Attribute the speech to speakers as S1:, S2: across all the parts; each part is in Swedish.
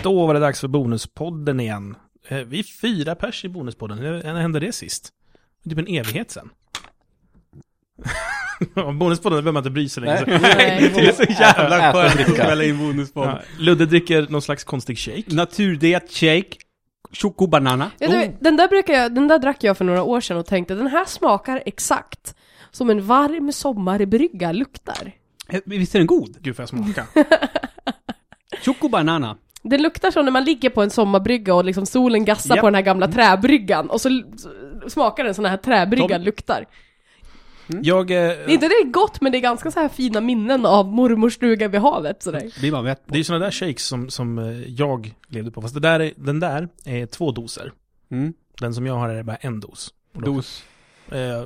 S1: att åh, var det dags för Bonuspodden igen. Eh, Vi är fyra pers i Bonuspodden. Hur när hände det sist? Det är Typ en evighet sen. Ja, bonuspodden behöver man inte bry sig längre.
S2: Nej.
S3: Nej.
S1: Det är så jävla
S2: Äta och
S1: skönt.
S2: dricka.
S4: Smälla in bonuspodd.
S1: Ja, Ludde dricker någon slags konstig shake.
S4: Naturdiet shake. Chokobanana.
S3: Vet du, den, där brukar jag, den där drack jag för några år sedan och tänkte den här smakar exakt som en varm sommarbrygga luktar.
S4: Eh, Visst är den god?
S1: Gud, får jag smaka?
S4: Chokobanana.
S3: Den luktar som när man ligger på en sommarbrygga och liksom solen gassar
S1: Japp.
S3: på den här gamla träbryggan och så l- s- smakar den sån här träbrygga
S1: Tom.
S3: luktar.
S1: Jag... eh,
S3: Det är inte det gott men det är ganska så här fina minnen av mormors stuga vid havet sådär.
S4: Blir man mätt på.
S1: Det är ju sådana där shakes som, som eh, jag levde på. Fast det där, är- den där är två doser.
S4: Mm.
S1: Den som jag har är bara en dos.
S4: Dos
S1: Eh,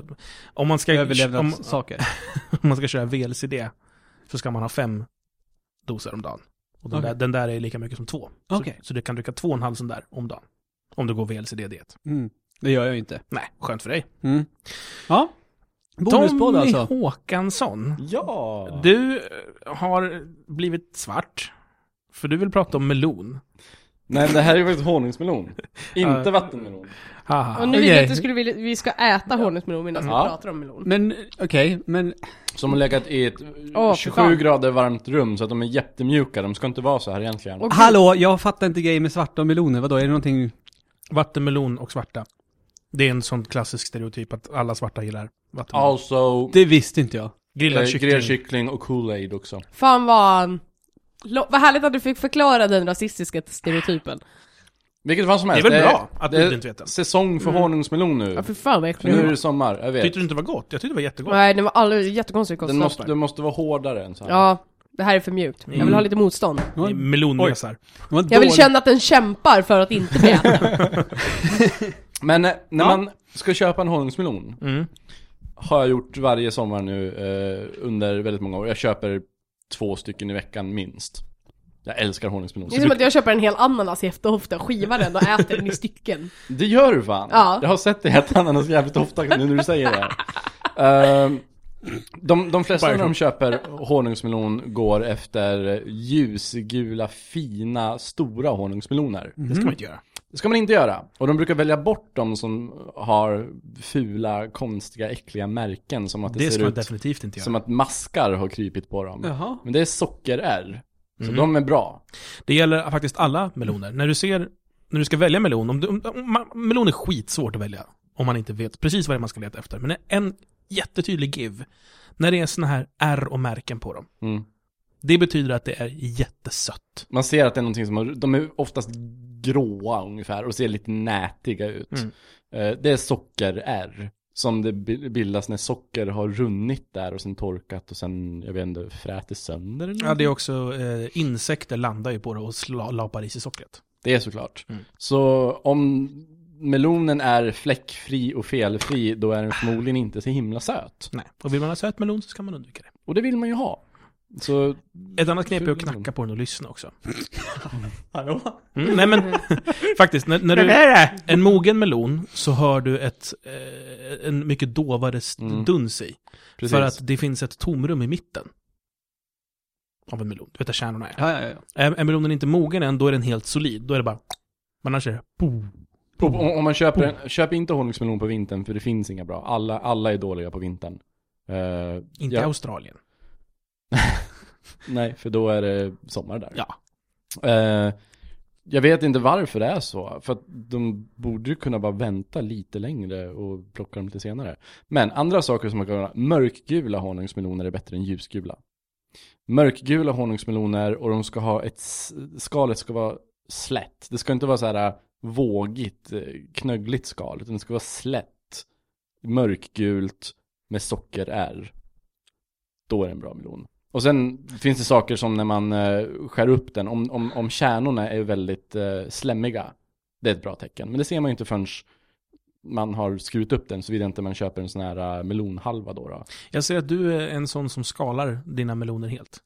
S1: om, man ska, om,
S4: överlevnadssaker.
S1: om man ska köra VLCD så ska man ha fem doser om dagen. Och den,
S4: Okej.
S1: där, den där är lika mycket som två.
S4: Okej.
S1: Så, så du kan dricka två och en halv sån där om dagen. Om du går VLCD-diet.
S4: Mm. Det gör jag ju inte.
S1: Nej, skönt för dig.
S4: Mm. Ja. Bonuspodd
S1: Tommy
S4: alltså.
S1: Håkansson.
S2: Ja!
S1: Du eh, har blivit svart. För du vill prata om melon.
S2: Nej men det här är faktiskt honungsmelon.
S1: Ja.
S2: Inte vattenmelon.
S1: Haha.
S3: Och nu vill jag
S1: Okej.
S3: att du skulle vilja, vi ska äta honungsmelon medan vi
S2: Ja.
S3: pratar om melon.
S4: Men okej, men
S2: Som har legat i ett
S3: Åh, fy
S2: 27
S3: fan.
S2: grader varmt rum så att de är jättemjuka. De ska inte vara så här egentligen.
S3: Och-
S4: hallå, jag fattar inte grejen med svarta och meloner. Vadå, är det någonting?
S1: Vattenmelon och svarta. Det är en sån klassisk stereotyp att alla svarta gillar vattenmelon.
S2: Also,
S4: Det visste inte jag.
S1: Grillad
S2: eh,
S1: kyckling.
S2: grillad kyckling och Kool-Aid också.
S3: Fan vad... Lo, vad härligt att du fick förklara den rasistiska stereotypen.
S2: Vilket fan som helst.
S1: väl bra att
S2: det
S1: du inte vet det. Mm.
S2: säsong för honungsmelon nu.
S3: Ja för fan vad
S2: För nu är
S3: äckligt.
S2: det sommar, jag vet.
S1: Tyckte du inte det var gott? Jag tyckte det var jättegott.
S3: Nej den var alldeles jättekonstig
S2: Den måste,
S3: konsistens.
S2: den måste vara hårdare än så här.
S3: Ja, det här är för mjukt. Jag vill ha lite motstånd.
S4: Det var-
S1: I Melonmesar.
S4: det var en
S3: Jag vill
S4: dålig-
S3: känna att den kämpar för att inte bli äten.
S2: Men eh, när
S4: Ja.
S2: man ska köpa en honungsmelon
S1: Mm.
S2: har jag gjort varje sommar nu eh, under väldigt många år. Jag köper två stycken i veckan minst. Jag älskar honungsmelon.
S3: Det är som att jag köper en hel ananas i efterhofta, skivar den och äter den i stycken.
S2: Det gör du fan!
S3: Ja.
S2: Jag har sett dig äta ananas jävligt ofta nu när du säger det. Ehm, de, de flesta när de köper honungsmelon går efter ljusgula, fina, stora honungsmeloner.
S1: Det ska man inte göra.
S2: Det ska man inte göra. Och de brukar välja bort de som har fula, konstiga, äckliga märken som att det,
S1: Det ska
S2: ser
S1: man
S2: ut
S1: definitivt inte göra.
S2: som att maskar har krypit på dem.
S4: Jaha.
S2: Men det är socker-R. Så
S1: Mm.
S2: de är bra.
S1: Det gäller faktiskt alla meloner. När du ser, när du ska välja melon, om du, om, om, ma- melon är skitsvårt att välja. Om man inte vet precis vad det är man ska leta efter. Men en jättetydlig give, när det är såna här R och märken på dem.
S2: Mm.
S1: Det betyder att det är jättesött.
S2: Man ser att det är någonting som, har, de är oftast gråa ungefär och ser lite nätiga ut.
S1: Mm.
S2: Eh, Det är socker-R. Som det bi- bildas när socker har runnit där och sen torkat och sen, jag vet inte, frätit sönder eller
S1: Ja, det är också, eh, insekter landar ju på det och sla, lapar i sig sockret.
S2: Det är såklart.
S1: Mm.
S2: Så om melonen är fläckfri och felfri, då är den förmodligen inte så himla söt.
S1: Nej. Och vill man ha söt melon så ska man undvika det.
S2: Och det vill man ju ha. Så,
S1: Ett annat knep är att
S2: Ful melon.
S1: knacka på den och lyssna också. Mm, nej men, faktiskt, när, när du...
S4: det?
S1: En mogen melon så hör du ett, eh, en mycket dovare st-
S2: Mm.
S1: duns i.
S2: precis.
S1: För att det finns ett tomrum i mitten. Av en melon. Du vet där kärnorna är.
S4: Ja, ja, ja.
S1: Är, är melonen inte mogen än, då är den helt solid. Då är det bara... Men annars är det... Bo.
S2: Om, om man köper en, köp inte honungsmelon på vintern, för det finns inga bra. Alla, alla är dåliga på vintern. Eh,
S1: Inte i
S2: ja,
S1: Australien.
S2: Nej, för då är det sommar där.
S1: Ja.
S2: Eh, jag vet inte varför det är så, för att de borde ju kunna bara vänta lite längre och plocka dem lite senare. Men andra saker som man kan göra, mörkgula honungsmeloner är bättre än ljusgula. Mörkgula honungsmeloner och de ska ha ett, s- skalet ska vara slätt. Det ska inte vara så här äh, vågigt, eh, knöggligt skal, utan det ska vara slätt, mörkgult med socker-R. Då är det en bra melon. Och sen finns det saker som när man eh, skär upp den, om, om, om kärnorna är väldigt eh, slämmiga, det är ett bra tecken. Men det ser man ju inte förrän man har skurit upp den, såvida inte man köper en sån här eh, melonhalva då. då.
S1: Jag ser att du är en sån som skalar dina meloner helt.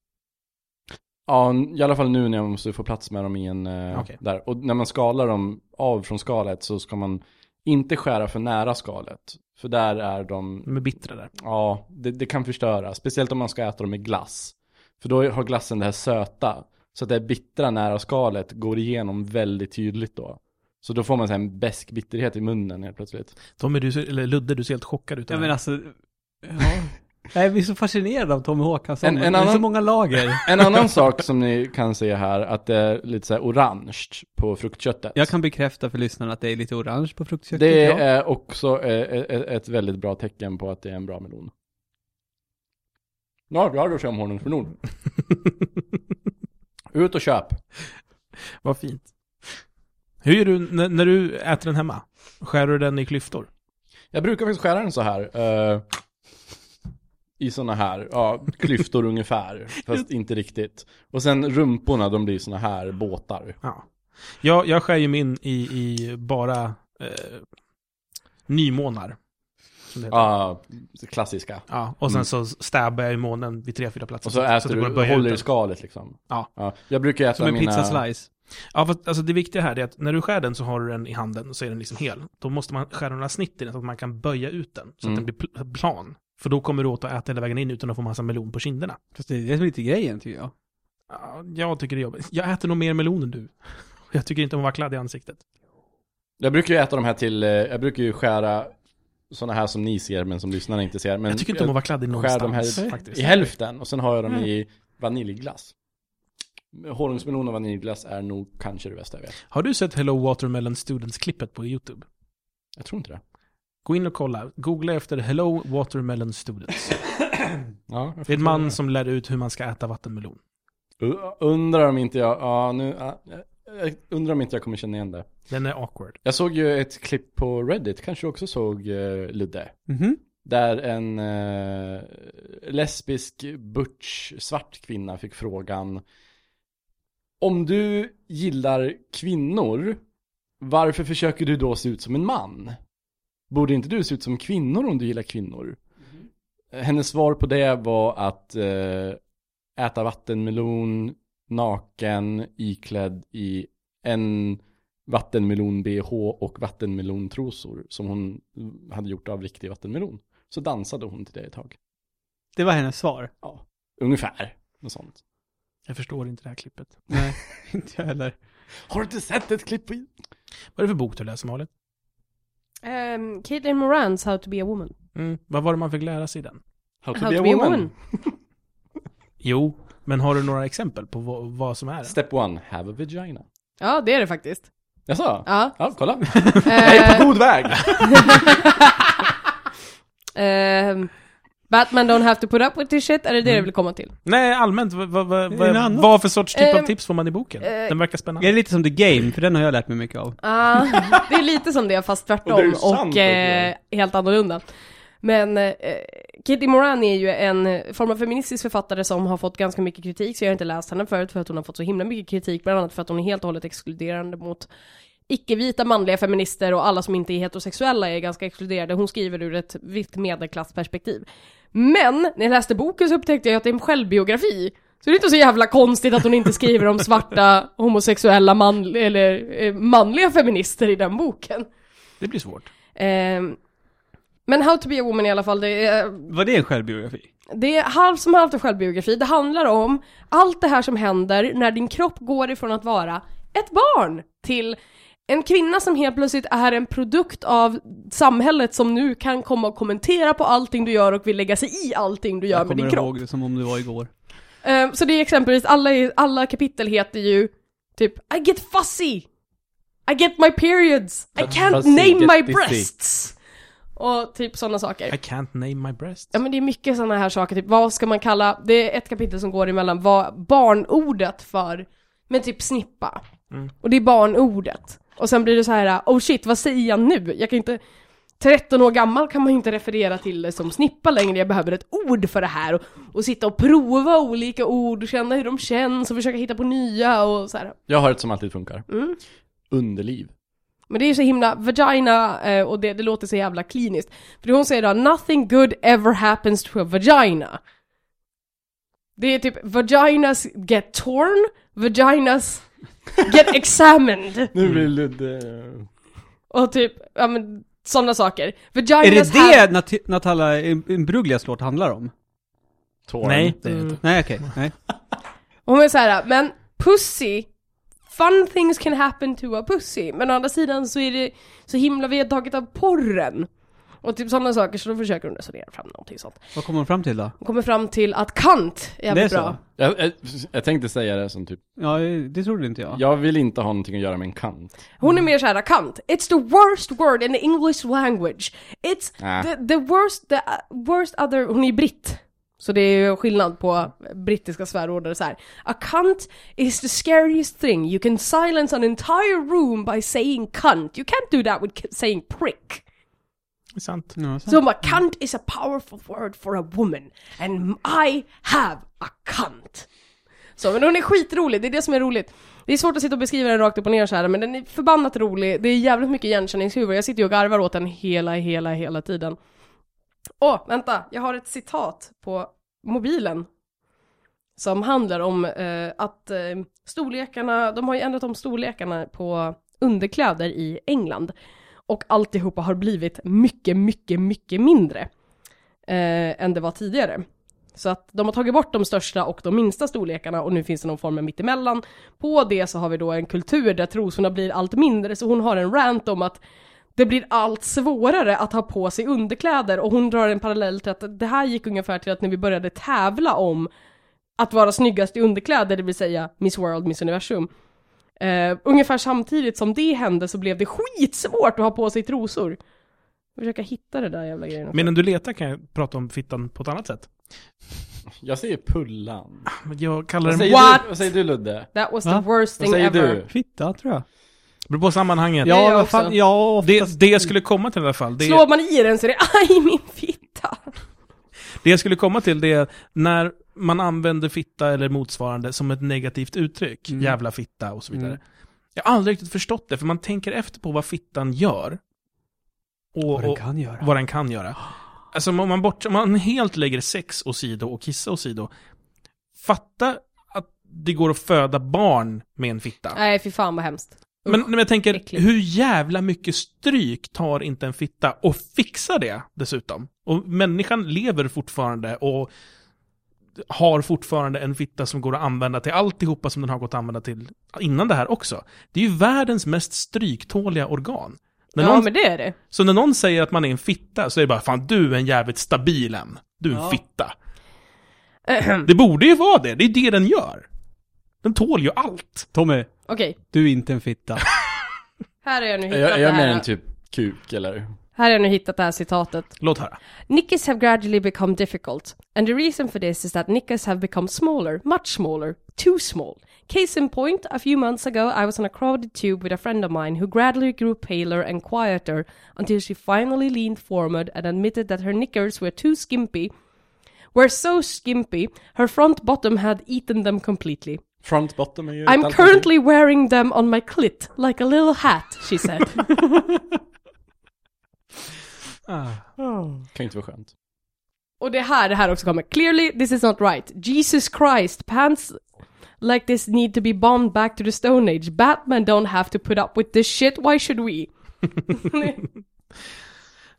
S2: Ja, n- i alla fall nu när jag måste få plats med dem i en... eh,
S1: Okej.
S2: där. Och när man skalar dem av från skalet så ska man inte skära för nära skalet. För där är de
S1: De är bittra där.
S2: Ja, det, det kan förstöra. Speciellt om man ska äta dem med glass. För då har glassen det här söta Så att det bittra nära skalet går igenom väldigt tydligt då. Så då får man så här en besk bitterhet i munnen helt plötsligt.
S1: Tommy, du ser, eller Ludde, du ser helt chockad ut.
S4: Ja men alltså, ja. Jag blir så fascinerad av Tommy Håkansson.
S2: En- en
S4: det är så
S2: annan-
S4: många lager.
S2: En annan sak som ni kan se här, att det är lite så här orange på fruktköttet.
S4: Jag kan bekräfta för lyssnarna att det är lite orange på fruktköket.
S2: Det
S4: ja.
S2: är också eh, ett ett väldigt bra tecken på att det är en bra melon. Ja, bra du om honungsmelon. Ut och köp.
S1: Vad fint. Hur gör du när, när du äter den hemma? Skär du den i klyftor?
S2: Jag brukar faktiskt skära den så här. eh, I såna här, ja, klyftor ungefär. Fast inte riktigt. Och sen rumporna, de blir såna här båtar.
S1: Ja. Jag, jag skär ju min i, i bara eh, nymånar. som det heter.
S2: Ja, klassiska.
S1: Ja, och sen så stäbbar jag i månen vid tre, fyra platser.
S2: Mm. Och
S1: så att
S2: så äter
S1: det
S2: du,
S1: går att böja ut
S2: håller i
S1: den.
S2: skalet liksom.
S1: Ja.
S2: Jag brukar äta
S4: Som en
S2: mina...
S4: pizza slice.
S1: Ja, fast, alltså det viktiga här är att när du skär den så har du den i handen och så är den liksom hel. Då måste man skära några snitt i den så att man kan böja ut den så
S2: Mm.
S1: att den blir pl- plan. För då kommer du åt att äta hela vägen in utan att få massa melon på kinderna.
S4: Fast det är det som är lite grejen tycker jag.
S1: Ja, jag tycker det är jobbigt. Jag äter nog mer melon än du. Jag tycker inte om att vara kladdig i ansiktet.
S2: Jag brukar ju äta de här till, eh, jag brukar ju skära sådana här som ni ser men som lyssnarna inte ser. Men
S1: jag tycker inte om att vara kladdig
S2: skär
S1: någonstans
S2: de här
S1: faktiskt. Mm.
S2: i hälften och sen har jag dem i vaniljglass. Honungsmelon och vaniljglass är nog kanske det bästa jag vet.
S1: Har du sett Hello Watermelon Students-klippet på YouTube?
S2: Jag tror inte det.
S1: Gå in och kolla. Googla efter Hello Watermelon Students.
S2: Ja, jag
S1: Det är en
S2: får
S1: man
S2: prova.
S1: som lär ut hur man ska äta vattenmelon.
S2: U- Undrar om inte jag, ja nu, ja, jag undrar om inte jag kommer känna igen det.
S1: Den är awkward.
S2: Jag såg ju ett klipp på Reddit, kanske du också såg eh, Ludde?
S4: Mhm.
S2: Där en eh, lesbisk, butch, svart kvinna fick frågan Om du gillar kvinnor, varför försöker du då se ut som en man? Borde inte du se ut som kvinnor om du gillar kvinnor? Hennes svar på det var att eh, äta vattenmelon naken, iklädd i en vattenmelon-bh och vattenmelontrosor som hon hade gjort av riktig vattenmelon. Så dansade hon till det ett tag.
S4: Det var hennes svar.
S2: Ja, ungefär. Något sånt.
S1: Jag förstår inte det här klippet.
S4: Nej, inte jag heller.
S2: Har du inte sett ett klipp på...
S1: Vad är det för bok du läser, Malin?
S3: Um, Caitlin Morans How to be a woman.
S1: Mm. Vad var det man fick lära sig i den?
S2: How
S3: How to be a woman.
S1: Jo, men har du några exempel på vad, vad som är det?
S2: Step one, have a vagina.
S3: Ja, det är det faktiskt.
S2: Jaså?
S3: Ja.
S2: Ja, kolla. Jag är på
S3: Eh,
S2: god väg!
S3: ehm, Batman don't have to put up with this shit, är det det
S1: Mm.
S3: du vill komma till?
S1: Nej, allmänt. Vad, vad, vad,
S4: Det är
S1: vad,
S4: en annan.
S1: vad för sorts typ av
S3: Ehm,
S1: tips får man i boken?
S3: eh,
S1: Den verkar
S4: Är det
S1: spännande.
S4: lite som The Game? För den har jag lärt mig mycket av.
S3: Ja, det är lite som det fast tvärtom
S2: Och det är ju
S3: och,
S2: sant,
S3: eh, helt annorlunda. Men eh, Kitty Moran är ju en form av feministisk författare som har fått ganska mycket kritik, så jag har inte läst henne förut för att hon har fått så himla mycket kritik, bland annat för att hon är helt och hållet exkluderande mot icke-vita manliga feminister och alla som inte är heterosexuella är ganska exkluderade. Hon skriver ur ett vitt medelklassperspektiv. Men när jag läste boken så upptäckte jag att det är en självbiografi. Så det är inte så jävla konstigt att hon inte skriver om svarta homosexuella man, eller, eh, manliga feminister i den boken.
S1: Det blir svårt.
S3: Ehm, men How to be a woman i alla fall, det är,
S4: Var det en självbiografi?
S3: det är halvt som halvt en självbiografi. Det handlar om allt det här som händer när din kropp går ifrån att vara ett barn till en kvinna som helt plötsligt är en produkt av samhället som nu kan komma och kommentera på allting du gör och vill lägga sig i allting du gör
S4: jag
S3: med
S4: kommer
S3: din kropp.
S4: ihåg det som om det var igår.
S3: Ehm, så det är exempelvis, alla, alla kapitel heter ju typ I get fussy, I get my periods, I can't
S2: Fussy, get
S3: name my
S2: dizzy.
S3: breasts. Och typ sådana saker.
S1: I can't name my breasts.
S3: Ja men det är mycket sådana här saker, typ vad ska man kalla, det är ett kapitel som går emellan vad barnordet för, men typ snippa.
S1: Mm.
S3: Och det är barnordet. Och sen blir det så här, oh shit vad säger jag nu? Jag kan inte, 13 år gammal kan man ju inte referera till det som snippa längre, jag behöver ett ord för det här. Och, och sitta och prova olika ord, och känna hur de känns och försöka hitta på nya och så här.
S2: Jag har ett som alltid funkar.
S3: Mm.
S2: Underliv.
S3: Men det är ju så himla, vagina, eh, och det, det låter så jävla kliniskt. För hon säger då, nothing good ever happens to a vagina. Det är typ, vaginas get torn, vaginas get examined.
S2: Nu blir Ludde... eh,
S3: Och typ, ja men sådana saker. Vaginas
S4: Är det
S3: have-
S4: det Nat- Natala Imbruglia låt handlar om?
S2: Tårn.
S1: Nej, det är det
S3: Mm.
S1: inte.
S4: Nej okej, nej.
S3: Hon är såhär, men pussy, fun things can happen to a pussy. Men å andra sidan så är det så himla vedtaget av porren. Och typ sådana saker, så då försöker hon resonera fram någonting sånt.
S4: Vad kommer de fram till då?
S3: Hon kommer fram till att Kant är jävligt
S4: Det är så?
S3: bra.
S2: Jag, jag, jag tänkte säga det som typ,
S4: Ja, det trodde inte jag.
S2: jag vill inte ha någonting att göra med en kant.
S3: Hon
S4: Mm.
S3: är mer såhär, Kant, it's the worst word in the English language. It's
S2: Äh.
S3: the, the worst, the uh, worst other, hon är ju britt. Så det är ju skillnad på brittiska svärord och så här. A cunt is the scariest thing. You can silence an entire room by saying cunt. You can't do that with k- saying prick.
S1: Det är sant.
S4: Ja, så.
S3: Så hon bara, cunt is a powerful word for a woman. And I have a cunt. Så, men hon är skitrolig, det är det som är roligt. Det är svårt att sitta och beskriva den rakt upp och ner så här, men den är förbannat rolig. Det är jävligt mycket igenkänningshuvud. Jag sitter ju och garvar åt den hela, hela, hela tiden. Åh, vänta, jag har ett citat på mobilen. Som handlar om eh, att eh, storlekarna, de har ju ändrat om storlekarna på underkläder i England. Och alltihopa har blivit mycket, mycket, mycket mindre eh, än det var tidigare. Så att de har tagit bort de största och de minsta storlekarna och nu finns det någon form av mittemellan. På det så har vi då en kultur där trosorna blir allt mindre, så hon har en rant om att det blir allt svårare att ha på sig underkläder och hon drar en parallell till att det här gick ungefär till att när vi började tävla om att vara snyggast i underkläder, det vill säga Miss World, Miss Universum. Eh, ungefär samtidigt som det hände så blev det skitsvårt att ha på sig trosor. Jag försöker hitta det där jävla grejen. också.
S1: Medan du letar kan jag prata om fittan på ett annat sätt.
S2: Jag säger pullan.
S1: Jag kallar
S2: Vad
S1: den...
S2: säger,
S3: What?
S2: Du, vad säger du Ludde?
S3: That was
S4: Va?
S3: the worst
S2: Vad
S3: thing
S2: säger
S3: ever.
S2: du?
S4: Fitta, tror jag.
S1: Beror på sammanhanget.
S3: gör
S4: Ja,
S3: jag
S4: vad fan,
S3: också.
S4: ja, ofta.
S1: Det, det jag skulle komma till i alla fall, det,
S3: Slår man i den så är det aj min fitta.
S1: det jag skulle komma till det är när man använder fitta eller motsvarande som ett negativt uttryck,
S4: Mm.
S1: jävla fitta och så vidare.
S4: Mm.
S1: Jag har aldrig riktigt förstått det, för man tänker efter på vad fittan gör. Och,
S4: Vad den
S1: och
S4: kan göra.
S1: vad den kan göra. Alltså om man, bort, om man helt lägger sex åsido och kissa åsido, fatta att det går att föda barn med en fitta.
S3: Nej fy fan vad hemskt.
S1: Men, men jag tänker,
S3: äckligt.
S1: hur jävla mycket stryk tar inte en fitta och fixar det dessutom? Och människan lever fortfarande och har fortfarande en fitta som går att använda till alltihopa som den har gått att använda till innan det här också. Det är ju världens mest stryktåliga organ. När
S3: ja
S1: någon,
S3: men det är det.
S1: Så när någon säger att man är en fitta så är det bara fan du är en jävligt stabil en. Du är en
S4: Ja.
S1: fitta. Det borde ju vara det, det är det den gör. Den tål ju allt.
S4: Tommy,
S3: Okej,
S4: du är inte en fitta.
S3: här har jag nu hittat
S2: Är jag, är
S3: det
S2: jag
S3: här.
S2: mer än typ kuk eller?
S3: Här har jag nu hittat det här citatet.
S1: Låt höra.
S3: Knickers have gradually become difficult, and the reason for this is that knickers have become smaller, much smaller, too small. Case in point, a few months ago I was on a crowded tube with a friend of mine who gradually grew paler and quieter until she finally leaned forward and admitted that her knickers were too skimpy, were so skimpy, her front bottom had eaten them completely.
S2: Front bottom är ju ett
S3: I'm
S2: alternativ.
S3: currently wearing them on my clit, like a little hat, she said.
S2: Kan ju inte vara skönt.
S3: Och det här, det här också kommer. Clearly this is not right. Jesus Christ, pants like this need to be bombed back to the stone age. Batman don't have to put up with this shit, why should we?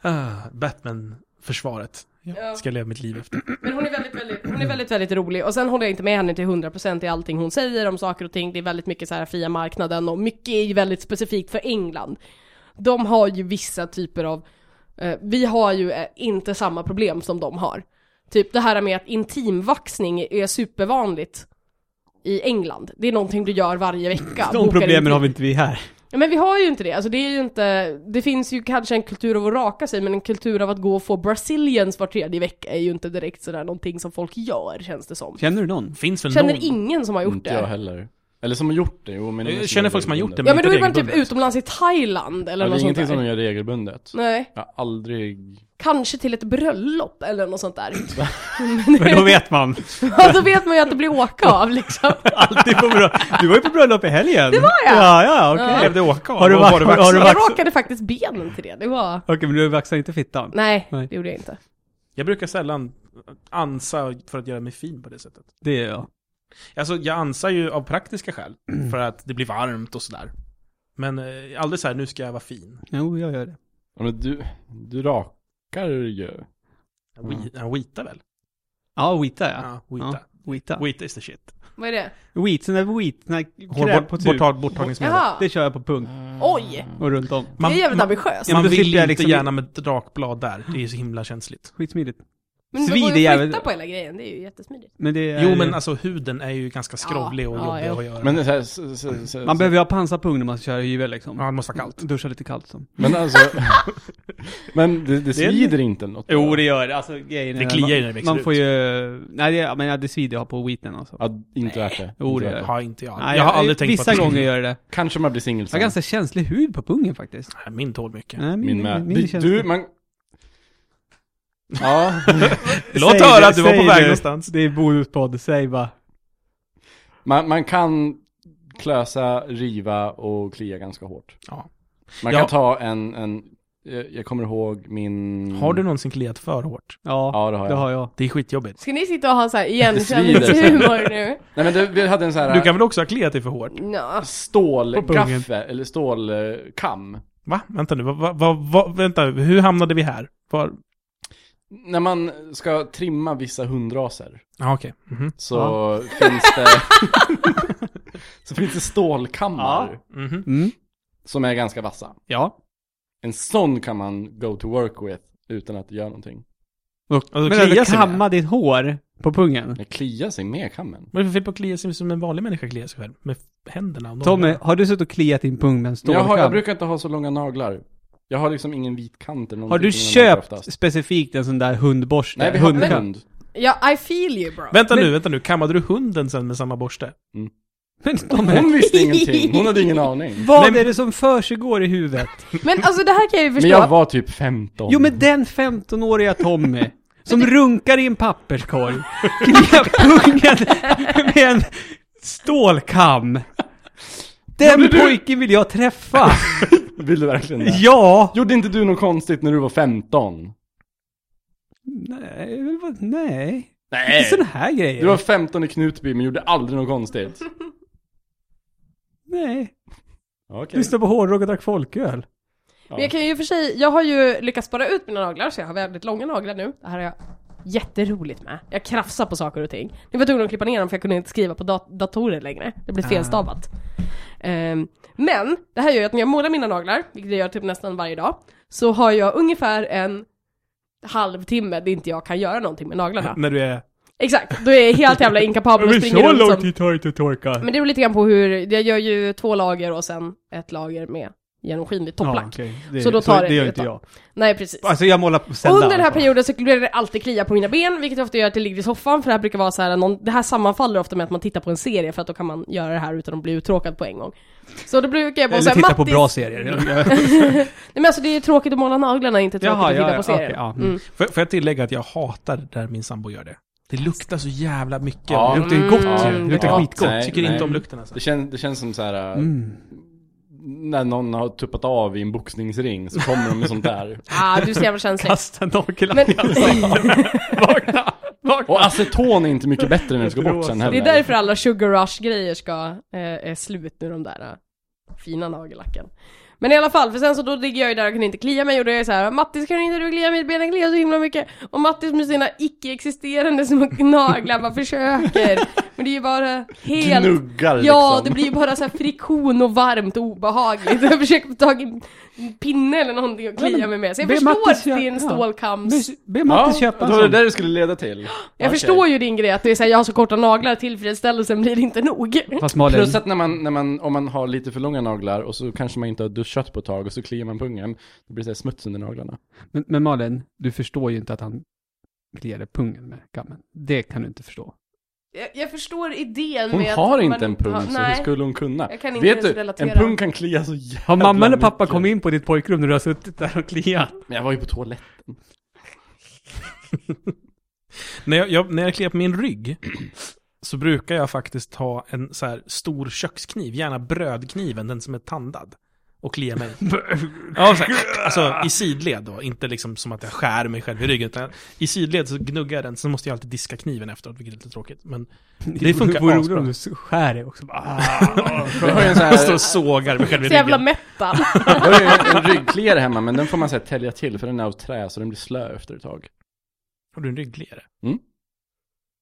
S1: Ah, Batman-försvaret.
S3: Ja.
S1: Ska jag leva mitt liv efter.
S3: Men hon är väldigt, väldigt, hon är väldigt, väldigt rolig. Och sen håller jag inte med henne till 100% i allting hon säger om saker och ting. Det är väldigt mycket så här fria marknaden och mycket är ju väldigt specifikt för England. De har ju vissa typer av, eh, vi har ju eh, inte samma problem som de har. Typ det här med att intimvaxning är supervanligt i England. Det är någonting du gör varje vecka.
S4: De
S3: Bokar
S4: problemen
S3: in-
S4: har vi inte vi här.
S3: Ja, men vi har ju inte det, alltså det är ju inte, det finns ju kanske en kultur av att raka sig men en kultur av att gå och få Brazilians var tredje vecka är ju inte direkt sådär någonting som folk gör känns det som.
S4: Känner du någon?
S1: Finns väl
S3: Känner
S1: någon?
S3: ingen som har gjort
S2: Inte jag
S3: det.
S2: heller. Eller som har gjort det, jo men...
S1: Jag känner folk som har gjort det,
S3: Ja men då
S1: Inte
S3: är man typ
S1: regelbundet.
S3: utomlands i Thailand eller
S2: Ja, det
S3: något
S2: är
S3: sånt
S2: ingenting
S3: där.
S2: som de gör regelbundet.
S3: Nej,
S2: Jag har aldrig...
S3: kanske till ett bröllop eller något sånt där.
S4: Men då vet man.
S3: ja, då vet man ju att det blir åka av liksom.
S4: Alltid på bröllop. Du var ju på bröllop i helgen. Det var
S3: jag.
S4: Ja, ja, okej.
S1: Levde åka av?
S4: Har du
S1: Och
S4: varit-
S1: var
S4: har du
S1: vaxad?
S4: varit-
S3: Jag rakade faktiskt benen till det, det var...
S4: Okej, men du vaxar inte fittan?
S3: Nej,
S4: Nej.
S3: det gjorde jag inte.
S1: Jag brukar sällan ansa för att göra mig fin på det sättet.
S4: Det gör jag.
S1: Alltså jag ansar ju av praktiska skäl, för att det blir varmt och sådär. Men eh, aldrig så här, nu ska jag vara fin.
S4: Jo, jag gör det.
S2: Ja, men du, du rakar ju.
S1: Jag wi- jag Wita väl?
S4: Ja, Wita ja.
S1: Mm. Ja, wita.
S4: Wita.
S1: Wita is the shit.
S3: Vad är det?
S4: Wheat, sån där wheat, sån här kräm
S1: Hård,
S4: på
S1: bort,
S4: tub.
S1: borttag, borttagningsmedel.
S3: Jaha!
S4: Det kör jag på punkt
S3: Mm. Oj!
S4: och runt om.
S1: Man,
S3: det är jävligt
S1: man,
S3: ambitiöst.
S4: Ja, men
S1: man
S4: då
S1: vill
S4: slipper jag
S1: inte
S4: liksom-
S1: gärna med drakblad där. Det är så himla känsligt.
S4: Skitsmidigt.
S3: men då
S4: svid
S3: går
S4: är
S3: ju att flytta
S4: jävligt-
S3: på hela grejen, det är ju jättesmidigt.
S4: Men det är,
S1: Jo, men alltså huden är ju ganska skrovlig och
S3: Ja,
S1: jobbig
S3: ja,
S1: att göra. Men,
S2: Men, det är så här, så, så, så,
S4: Man behöver ju ha pansarpung när man ska köra juvel liksom.
S1: ja, det måste vara kallt.
S4: Duscha lite kallt liksom. som.
S2: men alltså, men det, det svider inte något.
S4: Jo, det gör det. Alltså grejen är...
S1: Det kliar ju när det växer
S4: Man
S1: ut.
S4: får ju... Nej, det, ja, men ja, det svider jag har på wheaten alltså.
S2: Ja, inte värt det.
S4: Jo,
S2: Inte
S4: det
S2: värt
S4: gör det.
S1: Har inte jag.
S4: Nej,
S1: jag har aldrig tänkt
S4: Vissa
S1: på att
S4: gånger gör det det.
S2: Kanske man blir singel
S4: Jag har
S2: sen.
S4: ganska känslig hud på pungen faktiskt.
S1: Nej, Äh, Min tål mycket.
S4: Nej,
S2: Min med.
S4: min är
S2: Du,
S4: känslig.
S2: du, man... Ja,
S1: Låt
S4: Säg
S1: höra
S4: det,
S1: att du var på
S4: säg
S1: väg
S4: det.
S1: någonstans.
S4: Det är bonuspodd, säg bara.
S2: man, man kan klösa, riva och klia ganska hårt.
S1: Ja.
S2: Man
S1: Ja.
S2: kan ta en, en, jag jag kommer ihåg min...
S1: Har du någonsin kliat för hårt?
S4: Ja,
S2: Ja, det har
S4: det
S2: jag.
S4: har jag.
S1: Det är skitjobbigt.
S3: Ska ni sitta och ha en sån här
S2: Det svider.
S3: igenkänningshumor nu?
S2: Nej men det, vi hade en sån här
S1: Du kan väl också ha kliat dig för hårt?
S3: Nja.
S1: På pungen.
S2: stålgaffe, eller stålkam.
S1: Va? Vänta nu, va, va, va, va, vänta, hur hamnade vi här? Var?
S2: När man ska trimma vissa hundraser
S1: Ja, okej. Mhm.
S2: så finns det... så finns det stålkammar
S1: Mhm.
S4: Mm.
S2: som är ganska vassa.
S4: Ja.
S2: En sån kan man go to work with utan att göra någonting.
S1: Och då
S4: Men alltså,
S1: kliar sig med.
S4: kamma ditt hår på pungen.
S2: Men klia sig med kammen.
S1: Vad är det för fel på att klia sig som en vanlig människa kliar sig själv? Med f- händerna? och
S4: Tommy,
S1: naglarna.
S4: har du suttit och kliat din pung med en
S2: Men Jag, har, jag
S4: stålkam?
S2: brukar inte ha så långa naglar. Jag har liksom ingen vit kant eller
S4: Har du
S2: någonting på mina naglar
S4: köpt
S2: oftast.
S4: specifikt en sån där hundborste?
S2: alltså. Nej, vi hade
S4: Hundkam?
S2: en hund.
S3: Ja, I feel you bro.
S1: Vänta
S4: Men-
S1: nu, vänta nu. Kammade du hunden sen med samma borste?
S4: Men Tommy,
S2: Hon visste ingenting. Hon hade ingen aning.
S4: vad
S1: Nej,
S4: är det som försiggår i huvudet?
S3: Men alltså det här kan jag ju
S2: Men
S3: förstå.
S2: jag var typ 15.
S4: Jo men den 15-åriga Tommy som runkar i en papperskorg, kliar pungen med en stålkam. Den pojken vill jag träffa.
S2: Vill du verkligen det?
S4: Ja!
S2: Gjorde inte du något konstigt när du var 15?
S4: Nej, det var- nej.
S2: Nej.
S4: Inte sån här grejer.
S2: Du var 15 i Knutby men gjorde aldrig något konstigt.
S4: Nej.
S2: Okej.
S4: Lyssna på hårdrock och drack folköl.
S2: Ja.
S3: Men jag kan ju för sig, jag har ju lyckats spara ut mina naglar så jag har väldigt långa naglar nu. Det här är jag jätteroligt med. Jag krafsar på saker och ting. Nu var tvungen att klippa ner dem för jag kunde inte skriva på dat- datorer längre. Det blev felstavat. Ehm, men det här gör ju att när jag målar mina naglar, vilket jag gör typ nästan varje dag, så har jag ungefär en halvtimme där inte jag kan göra någonting med naglarna.
S1: När du är...
S3: Exakt, då är jag helt jävla inkapabel och springer runt som... Mm,
S4: tar det inte att torka.
S3: Men det beror lite grann på hur, jag gör ju två lager och sen ett lager med genomskinligt topplack. Så då tar det
S4: det gör
S3: ett
S4: inte
S3: tag.
S4: jag.
S3: Nej precis.
S4: Alltså jag målar på
S3: Och under den här perioden så blir det alltid klia på mina ben, vilket jag ofta gör att jag ligger i soffan, för det här brukar vara så här, någon, det här sammanfaller ofta med att man tittar på en serie, för att då kan man göra det här utan att bli uttråkad på en gång. Så då brukar jag bara
S4: Eller
S3: säga
S4: titta på
S3: Alltså, Mattis...
S4: bra serier.
S3: Nej men alltså det är tråkigt att måla naglarna, inte tråkigt
S4: Jaha,
S3: att
S4: ja,
S3: titta på
S4: ja,
S3: serier.
S4: okej, ja. Mm.
S3: mm.
S1: Får, får jag tillägga att jag hatar där min sambo gör det? Det luktar så jävla mycket.
S2: Ja.
S1: Det luktar ju gott
S2: Ja,
S1: ju.
S3: Mm.
S2: det
S1: Det luktar
S2: är gott.
S1: skitgott.
S2: Nej,
S1: Tycker
S2: nej.
S1: inte om lukten alltså.
S2: Det, kän, det känns som så här. äh,
S4: Mm.
S2: När någon har tuppat av i en boxningsring så kommer de med sånt där.
S3: Ah, du är så jävla känslig.
S4: Kasta nagellack.
S3: Men
S4: Vakna! Vakna!
S2: Och aceton är inte mycket bättre när det ska bort sen
S3: det
S2: heller.
S3: är därför alla sugar rush-grejer ska, eh, är slut nu, de där eh, fina nagellacken. Men i alla fall, för sen så då ligger jag ju där och kan inte klia mig och då är jag så här, Mattis kan inte du klia mitt ben, jag kliar så himla mycket. Och Mattis med sina icke-existerande små naglar bara försöker. Men det är ju bara helt...
S2: Gnuggar
S3: Ja,
S2: liksom.
S3: det blir ju bara så här friktion och varmt och obehagligt. Jag försöker få tag i en pinne eller någonting och
S4: Ja,
S3: klia
S4: men
S3: mig med. Så jag
S4: be
S3: förstår
S4: Mattis göra-
S3: din
S4: ja.
S3: stålkams...
S4: Be- Be Mattis
S2: ja,
S4: köpa
S2: då
S4: en
S2: var det
S4: sån.
S2: där det skulle leda till.
S3: Jag förstår ju din grej att det är såhär, jag har så korta naglar, tillfredsställelsen blir inte nog.
S4: Fast Malin,
S2: Plus att när man, när man, om man har lite för långa naglar och så kanske man inte har duschat på ett tag och så kliar man pungen. Det blir så här smuts under naglarna.
S4: men, men Malin, du förstår ju inte att han kliade pungen med kammen. Det kan du inte förstå.
S3: Jag, jag förstår idén
S2: Hon
S3: med att
S2: har
S3: man
S2: inte en pung
S3: har-
S2: så hur
S3: nej.
S2: skulle hon kunna?
S3: Jag kan inte
S2: Vet
S3: ens
S2: du,
S3: relatera.
S2: en pung kan klia så jävla
S4: Har mamma eller pappa
S2: mycket.
S4: kommit in på ditt pojkrum när du har suttit där och kliat?
S2: Men jag var ju på toaletten.
S1: När jag, jag, när jag kliar på min rygg så brukar jag faktiskt ha en så här stor kökskniv, gärna brödkniven, den som är tandad. Och klia mig. ja, så här, alltså i sidled då, inte liksom som att jag skär mig själv i ryggen. Utan i sidled så gnuggar jag den, sen måste jag alltid diska kniven efteråt, vilket är lite tråkigt. Men Det funkar
S4: vore roligt
S1: asbra.
S4: om du skär dig också. Bara, ah.
S2: Jag har ju en, sån
S1: jag står
S2: här,
S1: och sågar mig själv i
S3: Så jävla
S1: ryggen.
S3: metal.
S2: jag har ju en ryggkliare hemma men den får man så här tälja till för den är av trä så den blir slö efter ett tag.
S1: Har du en ryggkliare?
S2: Mm.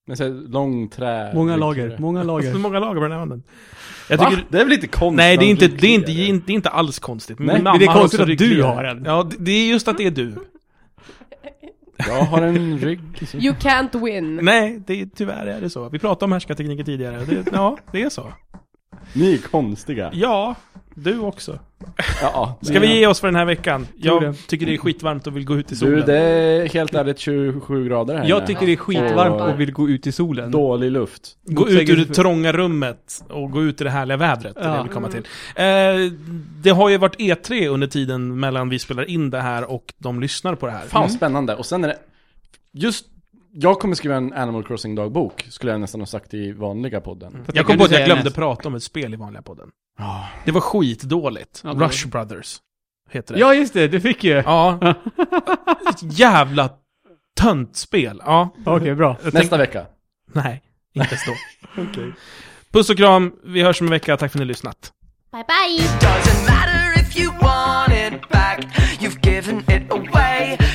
S2: Men så här, lång trä.
S4: Många lager, många
S1: Hur
S4: lager.
S1: många lager var den här handen? Jag
S2: Va?
S1: tycker,
S2: Det är väl inte konstigt?
S1: nej, det är, inte,
S2: att
S1: det, är inte, det är
S2: ryckiga?
S1: inte- det är inte alls konstigt. Min
S2: Nej, men
S1: mamma
S4: det är
S1: har
S4: konstigt
S1: också
S4: att du
S1: ryggligare.
S4: har en.
S1: Ja, det- det är just att det är du.
S2: Jag har en rygg. så-
S3: You can't win.
S1: Nej, det, är- tyvärr är det så. Vi pratade om härskartekniker tidigare. Det, ja, det är så.
S2: Ni är konstiga.
S1: Ja, du också.
S2: Ja,
S1: Ska vi ge oss för den här veckan?
S4: Tror
S1: Jag
S4: det.
S1: tycker det är skitvarmt och vill gå ut i
S2: Du,
S1: solen.
S2: det är helt ärligt 27 grader här inne.
S4: Jag tycker det är skitvarmt
S3: Ja.
S4: och vill gå ut i solen.
S2: Dålig luft.
S1: Gå ut ur det trånga rummet och gå ut i det härliga vädret. Det är Det,
S4: Ja.
S1: vi kommer till. Eh, det har ju varit E3 under tiden mellan vi spelar in det här och de lyssnar på det här. Mm.
S2: Fan vad spännande. Och sen är det... Just... Jag kommer skriva en Animal Crossing-dagbok, skulle jag nästan ha sagt i vanliga podden.
S1: Jag kom på att jag glömde prata om ett spel i vanliga podden.
S2: Ja.
S1: Det var skitdåligt.
S4: Ja, det var
S1: Rush Brothers heter det.
S4: Ja just det, du fick ju.
S1: ja. Ett jävla töntspel. Ja.
S4: Okej, bra.
S2: Nästa vecka.
S1: Nej, inte ens då. Puss och kram. Vi hörs om en vecka. Tack för att ni har lyssnat.
S3: Bye bye!
S5: Doesn't matter if you want it back, you've given it away.